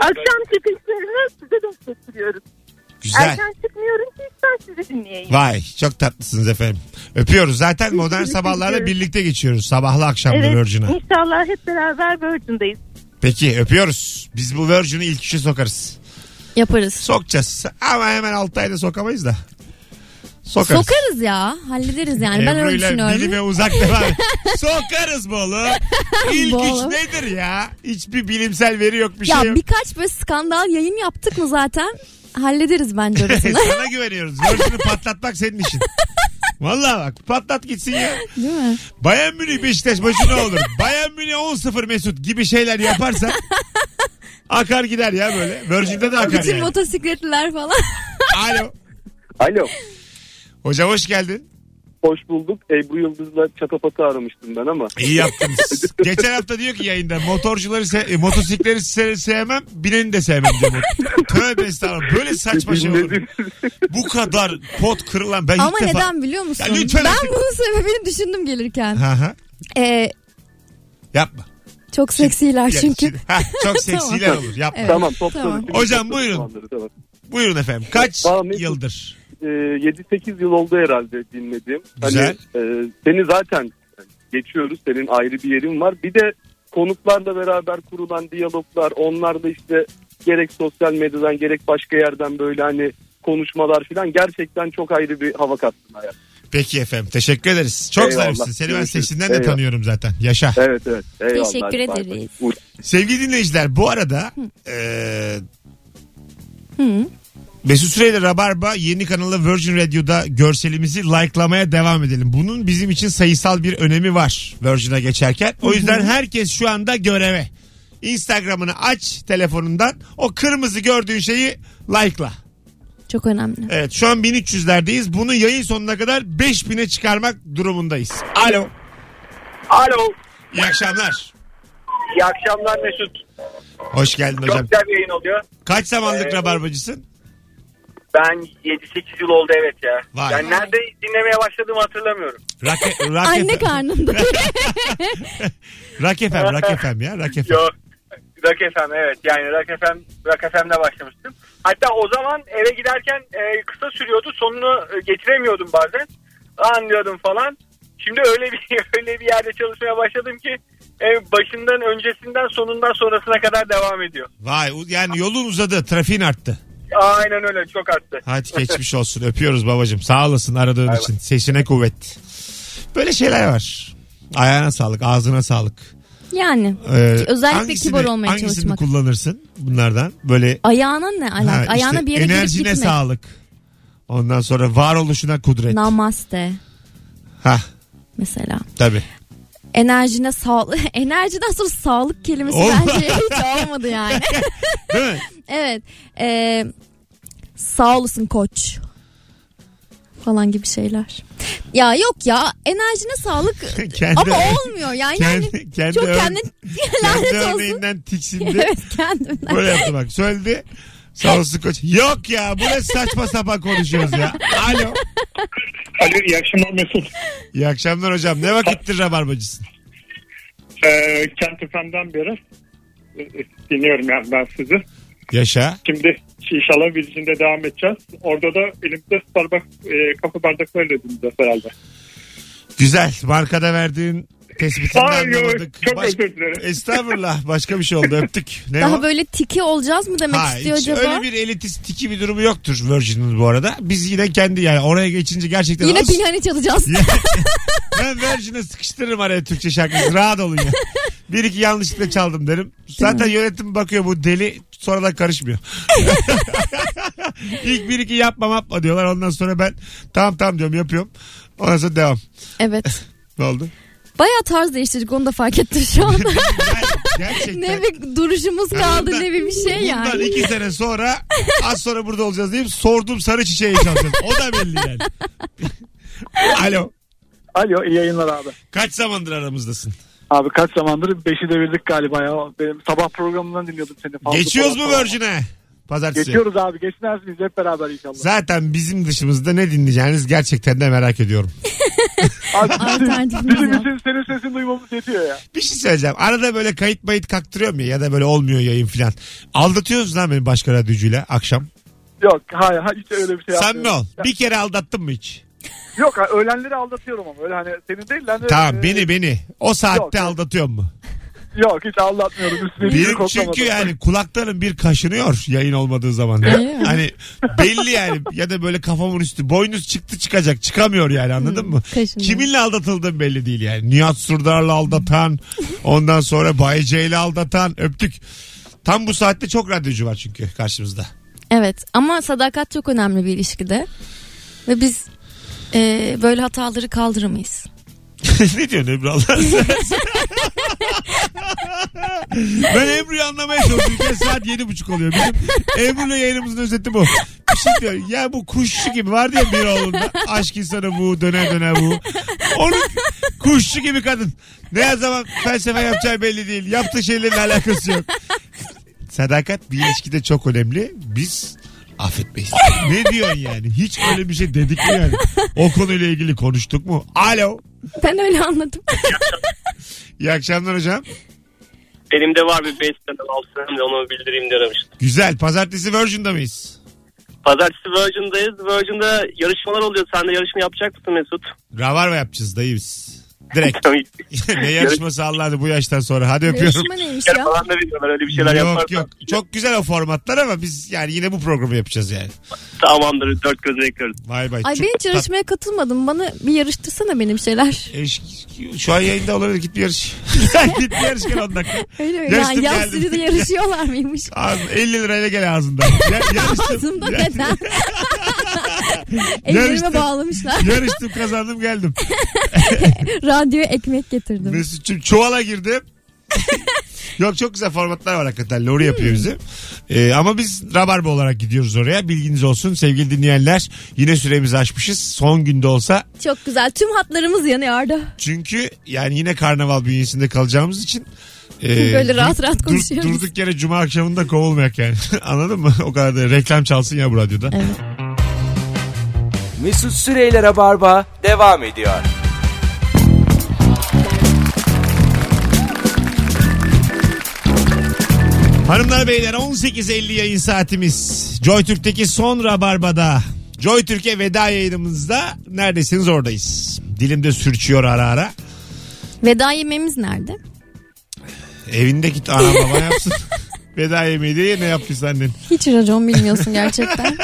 Akşam çıkışlarını size de getiriyoruz.
Güzel.
Erken çıkmıyorum ki ben sizi dinleyeyim.
Vay çok tatlısınız efendim. Öpüyoruz. Zaten modern sabahlarla birlikte geçiyoruz. Sabahlı akşamlı
Evet,
Virgin'a.
inşallah hep beraber Virgin'dayız.
Peki öpüyoruz. Biz bu Virgin'i ilk üçe sokarız.
Yaparız.
Sokacağız. Ama hemen 6 ayda sokamayız da. Sokarız.
Sokarız ya. Hallederiz yani. Ben öyle
Ebru'yla
düşünüyorum.
Dilime uzak devam. Sokarız bu oğlum. İlk
Bu
üç
oğlum.
nedir ya? Hiçbir bilimsel veri yok bir
Ya
şey yok.
birkaç böyle skandal yayın yaptık mı zaten? Hallederiz bence orasını.
Sana güveniyoruz. Virgin'i patlatmak senin işin. Vallahi bak patlat gitsin ya.
Değil mi?
Bayan Münih Beşiktaş maçı ne olur? Bayan Münih 10-0 Mesut gibi şeyler yaparsan akar gider ya böyle. Virgin'de de akar
Bütün
yani.
motosikletliler falan.
Alo.
Alo.
Hocam hoş geldin.
Hoş bulduk. Ebru Yıldız'la çatapatı aramıştım ben ama.
İyi yaptınız. Geçen hafta diyor ki yayında motorcuları se- e, motosikleri se- sevmem, bineni de sevmem diyor. Tövbe estağfurullah. Böyle saçma şey olur. mu? Bu kadar pot kırılan ben
Ama
ilk defa...
neden biliyor musun?
Ya lütfen
ben
artık.
bunun sebebini düşündüm gelirken.
Hı hı.
Ee,
Yapma.
çok
Şey,
seksiler
Ya,
çünkü.
şimdi- Ha, çok seksiler olur. Yapma.
Evet.
Tamam top
Tamam.
sarı.
Hocam buyurun. Buyurun efendim. Kaç
Valla Mesut-
yıldır?
Ee, 7-8 yıl oldu herhalde dinlediğim.
Güzel.
Hani, e, seni zaten geçiyoruz. Senin ayrı bir yerin var. Bir de konuklarla beraber kurulan diyaloglar. Onlar da işte gerek sosyal medyadan gerek başka yerden böyle hani konuşmalar falan gerçekten çok ayrı bir hava kattın hayat.
Peki efendim. Teşekkür ederiz. Çok
Eyvallah.
zarifsin. Seni ben
Görüşürüz.
seçinden de
Eyvallah.
tanıyorum zaten. Yaşa.
Evet evet. Eyvallah.
Teşekkür
Bay bay.
ederiz.
Uğur-
Sevgili dinleyiciler bu arada eee
Hı.
Mesut Süreyle Rabarba yeni kanalı Virgin Radio'da görselimizi like'lamaya devam edelim. Bunun bizim için sayısal bir önemi var Virgin'a geçerken. O yüzden herkes şu anda göreve. Instagram'ını aç telefonundan. O kırmızı gördüğün şeyi like'la.
Çok önemli.
Evet şu an 1300'lerdeyiz. Bunu yayın sonuna kadar 5000'e çıkarmak durumundayız. Alo.
Alo.
İyi akşamlar.
İyi akşamlar Mesut.
Hoş geldin
Çok
hocam.
güzel bir yayın oluyor.
Kaç zamanlık
Ee,
rabarbacısın?
Ben 7-8 yıl oldu evet ya.
Vay.
Yani nerede dinlemeye başladığımı hatırlamıyorum.
Rock, rock
Anne
FM.
karnında.
Rock FM, Rock FM ya. Rock FM.
Yok. Rock FM evet yani Rock FM, Rock FM'de başlamıştım. Hatta o zaman eve giderken e, kısa sürüyordu sonunu e, getiremiyordum bazen. Lan diyordum falan. Şimdi öyle bir öyle bir yerde çalışmaya başladım ki e, başından öncesinden sonundan sonrasına kadar devam ediyor.
Vay u- yani yolun uzadı, trafiğin arttı.
Aynen öyle çok arttı.
Hadi geçmiş olsun. Öpüyoruz babacığım. Sağ olasın aradığın için. Sesine kuvvet. Böyle şeyler var. Ayağına sağlık, ağzına sağlık.
yani.
Ee,
Özellikle
hangisini-
kibar olmaya
hangisini
çalışmak.
kullanırsın bunlardan? Böyle
Ayağına ne alak?
ha, işte
Ayağına bir yere girip
enerjine
gitme.
sağlık. Ondan sonra varoluşuna kudret.
Namaste
ha
mesela.
tabii.
Enerjine sağlık. Enerjiden sonra sağlık kelimesi
Olmadı.
bence hiç olmadı yani.
Değil mi?
evet. Ee, sağ olasın koç. Falan gibi şeyler. Ya yok ya enerjine sağlık
Kendi-
ama olmuyor yani.
Kendi- kendi
çok
ör-
kendin
Kendi
lanet olsun.
örneğinden tiksindi.
evet kendimden.
Böyle yaptı bak. Söyledi. Sağ olsun koç. Yok ya bu ne saçma sapan konuşuyoruz ya. Alo.
Alo iyi akşamlar Mesut.
İyi akşamlar hocam. Ne vakittir rabarbacısın?
Ee, Kent FM'den beri e, e, dinliyorum yani ben sizi.
Yaşa.
Şimdi inşallah Virgin'de devam edeceğiz. Orada da elimizde Starbucks e, kafa bardaklarıyla dinleyeceğiz herhalde.
Güzel. Markada verdiğin tespitinden
Ay, yok,
anlamadık.
çok
Baş-
özür dilerim.
Estağfurullah. Başka bir şey oldu. Öptük. Ne
Daha
o?
böyle tiki olacağız mı demek
Ha,
istiyor
hiç
acaba?
öyle bir elitistiki bir durumu yoktur Virgin'in bu arada. Biz yine kendi yani oraya geçince gerçekten
Yine
az-
pilhani çalacağız.
ben Virgin'e sıkıştırırım araya Türkçe şarkısı. Rahat olun ya. Bir iki yanlışlıkla çaldım derim. Zaten yönetim bakıyor bu deli sonra da karışmıyor. İlk bir iki yapmam yapma diyorlar. Ondan sonra ben tamam tamam diyorum yapıyorum. Ondan sonra devam.
evet.
Ne oldu?
Bayağı tarz değiştirdik onu da fark ettim şu anda.
Yani gerçekten.
ne bir duruşumuz kaldı
Bundan-
ne bir bir şey
Bundan
yani.
iki sene sonra az sonra burada olacağız deyip sordum sarı çiçeği çalacağız. O da belli yani. Alo.
Alo iyi yayınlar abi.
Kaç zamandır aramızdasın?
Abi kaç zamandır beşi devirdik galiba ya. Benim sabah programından dinliyordum seni. Fazla
Geçiyoruz mu
falan.
Virgin'e? Pazartesi.
Geçiyoruz abi geçmez miyiz hep beraber inşallah.
Zaten bizim dışımızda ne dinleyeceğiniz gerçekten de merak ediyorum.
Abi,
Alternatifimiz
bizim
yok.
için senin sesini duymamız yetiyor ya.
Bir şey söyleyeceğim. Arada böyle kayıt mayıt kaktırıyorum ya ya da böyle olmuyor yayın filan. Aldatıyorsunuz lan beni başka radyocuyla akşam.
Yok hayır ha- hiç öyle bir şey
Sen mi ol?
yapmıyorum.
Bir kere aldattın mı hiç?
Yok ha, öğlenleri aldatıyorum ama öyle hani senin değil lan.
Tamam
Ee,
beni beni. O
Yok,
saatte
yok.
aldatıyor mu?
Yok hiç aldatmıyorum. Üstüne hiç
Benim
koklamadım.
çünkü yani kulaklarım bir kaşınıyor yayın olmadığı zaman.
Evet.
hani belli yani ya da böyle kafamın üstü boynuz çıktı çıkacak çıkamıyor yani anladın mı?
kaşınıyor.
Kiminle aldatıldığım belli değil yani. Nihat Surdar'la aldatan ondan sonra Bayece'yle aldatan öptük. Tam bu saatte çok radyocu var çünkü karşımızda.
Evet ama sadakat çok önemli bir ilişkide. Ve biz e, böyle hataları kaldıramayız.
ne diyorsun Ebru Allah'ını seversen? ben Ebru'yu anlamaya çalışıyorum. Saat yedi buçuk oluyor. Bizim Ebru'yla yayınımızın özeti bu. Bir şey diyor. Ya bu kuşçu gibi var diye bir oğlunda. Aşk insanı bu döner döner bu. Onun kuşçu gibi kadın. Ne zaman felsefe yapacağı belli değil. Yaptığı şeylerle alakası yok. Sadakat bir ilişkide çok önemli. Biz affetmeyiz. ne diyorsun yani? Hiç öyle bir şey dedik mi yani? O konuyla ilgili konuştuk mu? Alo.
Ben öyle anladım.
İyi akşamlar hocam.
Benim de var bir 5 sene 6 sene onu bildireyim de aramıştım.
Güzel. Pazartesi Virgin'da mıyız?
Pazartesi Virgin'dayız. Virgin'da yarışmalar oluyor. Sen de yarışma yapacak mısın Mesut?
Ravarva yapacağız dayı biz. Direkt.
Tabii.
ne yarışması Allah'ını bu yaştan sonra. Hadi öpüyorum.
Yarışma neymiş
Yarın
ya?
falan da veriyorlar öyle bir şeyler
yok
yaparsan.
yok. Çok güzel o formatlar ama biz yani yine bu programı yapacağız yani.
Tamamdır. Dört gözle bekliyoruz.
Vay vay.
Ay
çok
ben hiç yarışmaya katılmadım. Bana bir yarıştırsana benim şeyler.
tat- Eş- Şu an yayında olabilir. Git bir yarış. git bir yarış gel 10 dakika.
Öyle mi? Ya,
Yarıştım
yaz
geldim.
sürüde yarışıyorlar mıymış?
Ağzı- 50 lirayla gel ağzından. Ya, yarıştım.
Ağzımda
Ya-
neden? Ellerime
Yarıştı-
bağlamışlar.
yarıştım kazandım geldim.
Radyoya ekmek getirdim.
Mesut'cum çuvala girdim. Yok çok güzel formatlar var hakikaten. Lori
Hmm.
yapıyor bizi. Ee, ama biz Rabarba olarak gidiyoruz oraya. Bilginiz olsun sevgili dinleyenler. Yine süremizi aşmışız. Son günde olsa.
Çok güzel. Tüm hatlarımız yanıyor Arda.
Çünkü yani yine karnaval bünyesinde kalacağımız için. e,
Böyle rahat rahat
dur-
konuşuyoruz.
Durduk yere cuma akşamında kovulmayak yani. Anladın mı? O kadar da reklam çalsın ya bu radyoda.
Mesut Süreyler'e barba devam ediyor.
Hanımlar beyler 18.50 yayın saatimiz. Joy Türk'teki son Rabarba'da. Joy Türkiye veda yayınımızda neredesiniz oradayız. Dilimde sürçüyor ara ara.
Veda yemeğimiz nerede?
Evindeki ana baba yapsın. veda yemeği diye ne yaptıysa annen.
Hiç racon bilmiyorsun gerçekten.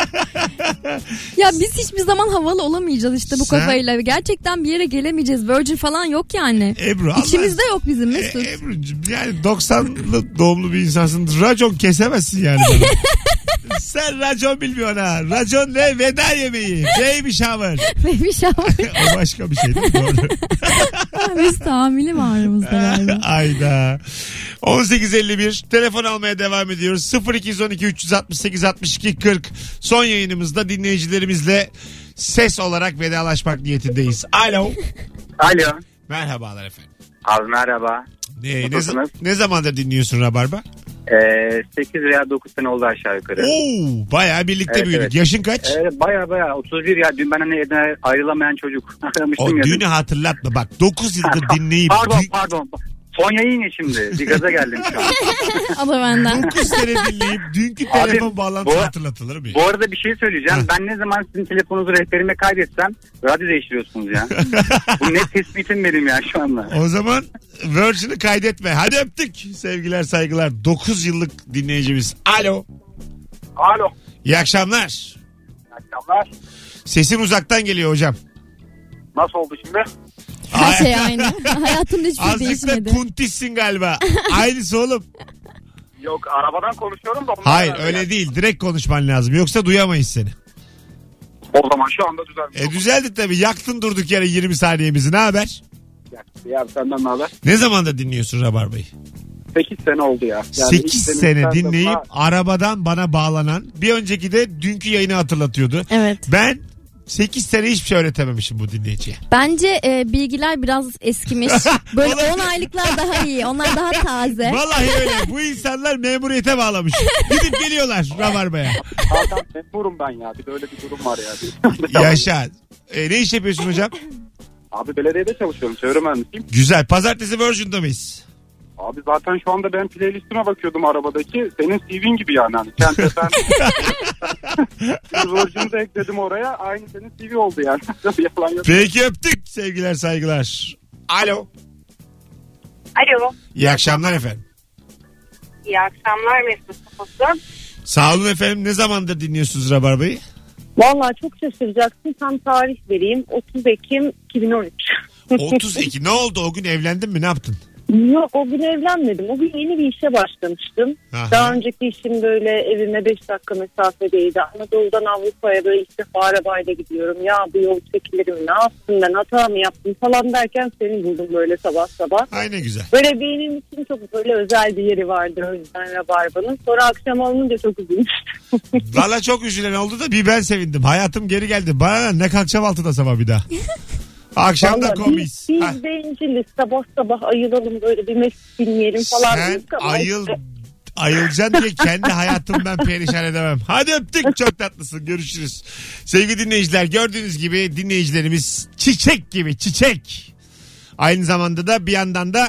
ya biz hiçbir zaman havalı olamayacağız işte bu
Sen-
kafayla. Gerçekten bir yere gelemeyeceğiz. Virgin falan yok yani.
Ebru Allah-
İçimizde yok bizim Mesut.
E, Ebru'cum yani 90'lı doğumlu bir insansın. Racon kesemezsin yani. bana. Sen racon bilmiyorsun ha. Racon ne? Veda yemeği. Baby shower.
Neymiş ama
o başka bir şey değil mi? Doğru.
biz tahammülü var aramızda galiba.
Ayda. 18.51 telefon almaya devam ediyoruz. 0212 368 62 40 son yayınımızda dinleyicilerimizle ses olarak vedalaşmak niyetindeyiz. Alo.
Alo.
Merhabalar efendim.
Abi merhaba.
Ne, ne,
Nasılsınız?
ne zamandır dinliyorsun Rabarba?
Ee, 8 veya 9 sene oldu aşağı yukarı.
Oo, bayağı birlikte
Evet,
büyüdük.
evet.
Yaşın kaç?
Ee, baya baya 31 ya dün ben hani evden ayrılamayan çocuk aramıştım
o
ya. dün.
düğünü hatırlatma. Bak 9 yıldır dinleyip
Pardon pardon. Son yayın ya şimdi. Bir gaza geldim şu an.
Ama benden.
9 sene dinleyip dünkü
Abi,
telefon bağlantısı
bu-
hatırlatılır mı?
Bu arada bir şey söyleyeceğim.
Hı.
Ben ne zaman sizin telefonunuzu rehberime kaydetsem radyo değiştiriyorsunuz ya. Bu ne tespitim benim ya şu anda.
O zaman Virgin'i kaydetme. Hadi öptük. Sevgiler saygılar. 9 yıllık dinleyicimiz. Alo.
Alo.
İyi akşamlar.
Akşamlar.
Sesin uzaktan geliyor hocam.
Nasıl oldu şimdi?
Her şey aynı. Hayatımda hiçbir şey
Azıcık da
değişmedi.
kuntissin galiba. Aynısı oğlum.
Yok arabadan konuşuyorum da. ondan
Hayır
herhalde
öyle değil. Direkt konuşman lazım. Yoksa duyamayız seni.
yani. O zaman şu anda düzelmiş.
E düzeldi tabii. Yaktın durduk yere 20 saniyemizi. Ne haber?
Ya senden ne haber?
Ne zamanda dinliyorsun Rabarba'yı?
8 sene oldu ya. Yani
8
ilk
sene
denizden
dinleyip
sonra-
arabadan bana bağlanan. Bir önceki de dünkü yayını hatırlatıyordu.
Evet.
Ben 8 sene hiçbir şey öğretememişim bu dinleyiciye.
Bence e, bilgiler biraz eskimiş. Böyle
Olabilir.
10 aylıklar daha iyi. Onlar daha taze.
Vallahi öyle. Bu insanlar memuriyete bağlamış. Gidip geliyorlar Rabarba'ya.
Zaten memurum ben ya. Bir de öyle bir durum var ya.
Yaşa. E, ne iş yapıyorsun hocam?
Abi belediyede çalışıyorum. Çevre mühendisiyim.
Güzel. Pazartesi Virgin'da mıyız?
Abi zaten şu anda ben playlistime bakıyordum arabadaki. Senin CV'in gibi yani. Hani kendi ben... Virgin'i de ekledim oraya. Aynı senin CV oldu yani. Yalan yok.
Peki öptük. Sevgiler saygılar. Alo.
Alo.
İyi akşamlar efendim.
İyi akşamlar Mesut Kutusu.
Sağ olun efendim. Ne zamandır dinliyorsunuz Rabarba'yı?
Valla çok şaşıracaksın. Tam tarih vereyim. 30 Ekim 2013.
30 Ekim. Ne oldu? O gün evlendin mi? Ne yaptın?
Yok o gün evlenmedim. O gün yeni bir işe başlamıştım.
Aha.
Daha önceki işim böyle evime 5 dakika mesafedeydi. Anadolu'dan Avrupa'ya böyle ilk defa arabayla gidiyorum. Ya bu yol çekilirim ne yaptım ben hata mı yaptım falan derken seni buldum böyle sabah sabah.
Ay ne güzel.
Böyle benim için çok böyle özel bir yeri vardı o yüzden Rabarba'nın. Sonra akşam olunca çok üzülmüştüm.
Valla çok üzülen oldu da bir ben sevindim. Hayatım geri geldi. Bana ne kalkacağım altıda sabah bir daha. Akşam da
Vallahi
komis.
Biz,
Ha.
biz benciliz sabah sabah ayılalım böyle bir mesut dinleyelim falan.
Sen
dedik ama
ayıl
işte
ayılacaksın diye kendi hayatımdan perişan edemem. Hadi öptük çok tatlısın görüşürüz. Sevgili dinleyiciler gördüğünüz gibi dinleyicilerimiz çiçek gibi çiçek. Aynı zamanda da bir yandan da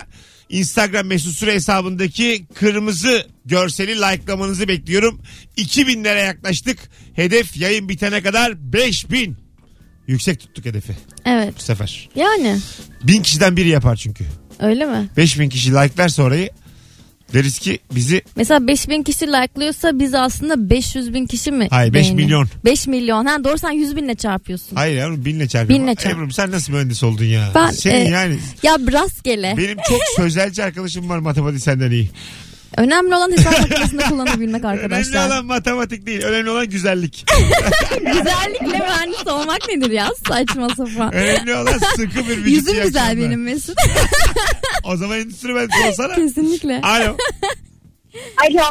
Instagram mesut süre hesabındaki kırmızı görseli likelamanızı bekliyorum. 2000'lere yaklaştık. Hedef yayın bitene kadar 5000. Yüksek tuttuk hedefi
Evet.
bu sefer.
Yani
1000 kişiden biri yapar çünkü.
öyle mi?
5000 kişi like'larsa orayı deriz ki bizi
Mesela 5000 kişi like'lıyorsa biz aslında 500 bin kişi mi?
Hayır, beş
beğeniyor?
milyon.
5 milyon. Ha, doğru sen 100 binle çarpıyorsun.
hayır yavrum binle çarpıyorum.
Binle çarp.
Ebru'm sen nasıl mühendis oldun ya?
Ben,
Senin
e,
yani
Ya rastgele.
benim çok sözelci arkadaşım var matematik senden iyi.
Önemli olan hesap makinesini kullanabilmek
Önemli
arkadaşlar.
olan matematik değil. Önemli olan güzellik.
Güzellikle mühendis olmak nedir ya? Saçma sapan.
Önemli olan sıkı bir vücut. iyi
Yüzüm güzel
akşamlar.
benim Mesut.
O zaman endüstri mühendisi olsana.
Kesinlikle.
Alo.
Alo.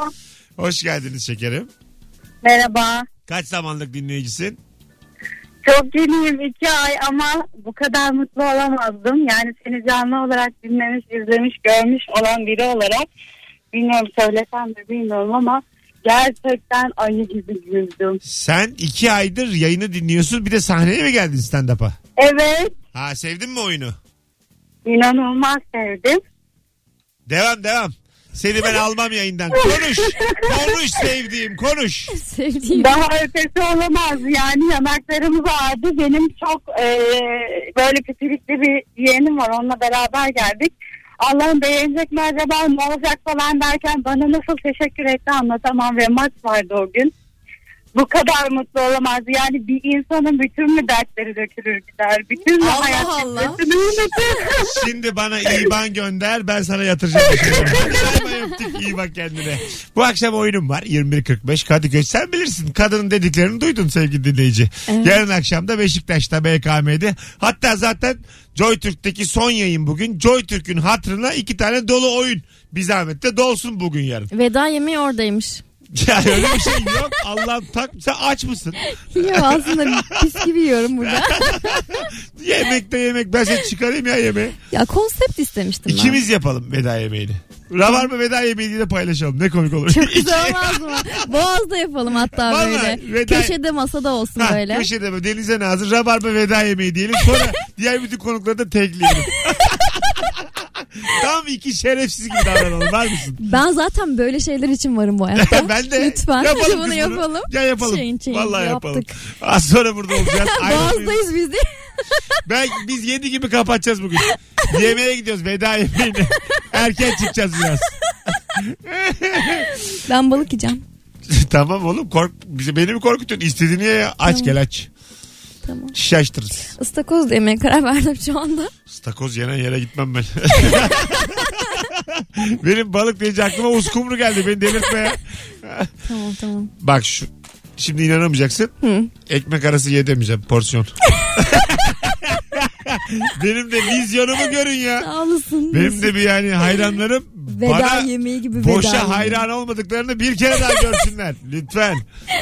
Hoş geldiniz şekerim.
Merhaba.
Kaç zamanlık dinleyicisin?
Çok yeniyim iki ay ama bu kadar mutlu olamazdım. Yani seni canlı olarak dinlemiş, izlemiş, görmüş olan biri olarak bilmiyorum söylesem de bilmiyorum ama gerçekten ayı gibi güldüm.
Sen iki aydır yayını dinliyorsun. Bir de sahneye mi geldin stand-up'a?
Evet
Ha sevdin mi oyunu?
inanılmaz sevdim.
Devam devam. Seni ben almam yayından. Konuş. Konuş sevdiğim konuş.
Sevdiğim.
Daha ötesi olamaz yani yanaklarımız ağrıdı. Benim çok eee, böyle pipirikli bir yeğenim var onunla beraber geldik. Allah'ım beğenecek mi acaba ne olacak falan derken bana nasıl teşekkür etti anlatamam ve maç vardı o gün. Bu kadar mutlu olamaz. Yani bir insanın bütün mü dertleri dökülür gider? Bütün mü
Allah
hayat
Allah.
stresi duyulur?
Şimdi bana IBAN gönder ben sana yatıracağım. Ama öptük iyi bak kendine. Bu akşam oyunum var 21.45 Kadıköy. Sen bilirsin kadının dediklerini duydun sevgili dinleyici. Yarın akşam da Beşiktaş'ta BKM'de. Hatta zaten JoyTürk'teki son yayın bugün. JoyTürk'ün hatırına iki tane dolu oyun. Bir zahmet de dolsun bugün yarın.
Veda yemeği oradaymış.
Yani öyle bir şey yok. Allah'ım tak. Sen aç mısın?
Ya aslında pis gibi yiyorum burada.
Yemekte yemek. Ben seni çıkarayım ya yemeği.
Ya konsept istemiştim ben.
İkimiz yapalım veda yemeğini. Rabarba veda yemeğini de paylaşalım. Ne komik olur.
Çok güzel olmaz mı? Boğaz'da yapalım hatta
Vallahi
böyle.
veda-
Köşede masada olsun
Ha,
böyle.
Köşede böyle denize nazır rabarba veda yemeği diyelim. Sonra diğer bütün konukları da tekleyelim. Tam iki şerefsiz gibi davranalım. Var mısın?
Ben zaten böyle şeyler için varım bu hayatta.
ben de
Lütfen
yapalım
bunu
kız
yapalım.
Ya yapalım.
Şeyin şeyini
Vallahi
yaptık.
yapalım. Az sonra burada olacağız. Ayrılmayız.
Boğaz'dayız biz de.
ben, biz yedi gibi kapatacağız bugün. Yemeğe gidiyoruz veda yemeğine. Erken çıkacağız biraz.
Ben balık yiyeceğim.
tamam oğlum kork bizi beni mi korkutuyorsun? İstediğini ye ya. Aç gel aç.
Tamam.
Şiş açtırırız.
Istakoz da yemeye karar verdim şu anda.
Stakoz yenen yere gitmem ben. Benim balık deyince aklıma uskumru geldi. Beni delirtme ya.
Tamam tamam.
Bak şu şimdi inanamayacaksın. Ekmek arası yedemeyeceğim porsiyon. Benim de vizyonumu görün ya.
Sağ olasın.
Benim de bir yani hayranlarım
Veda
bana
yemeği gibi veda.
boşa
yemeği.
hayran olmadıklarını bir kere daha görsünler. Lütfen.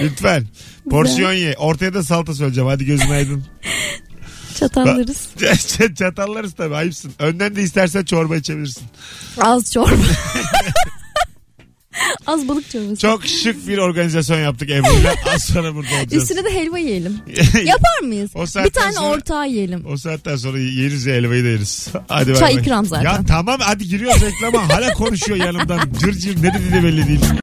Lütfen. Porsiyon ye. Ortaya da salata söyleyeceğim. Hadi gözün aydın.
Çatallarız.
Çatallarız tabii ayıpsın. Önden de istersen çorba içebilirsin.
Az çorba. Az balık çorbası.
Çok şık bir organizasyon yaptık Ebru'yla. Az sonra burada olacağız.
Üstüne de helva yiyelim. Yapar mıyız?
O saatten
Bir tane
sonra-
ortağı yiyelim.
O saatten sonra yeriz ya helvayı da yeriz. Hadi bay
Çay
bay.
ikram zaten.
Ya tamam hadi giriyoruz reklama. Hala konuşuyor yanımdan. Cır cır ne dediği de belli değil.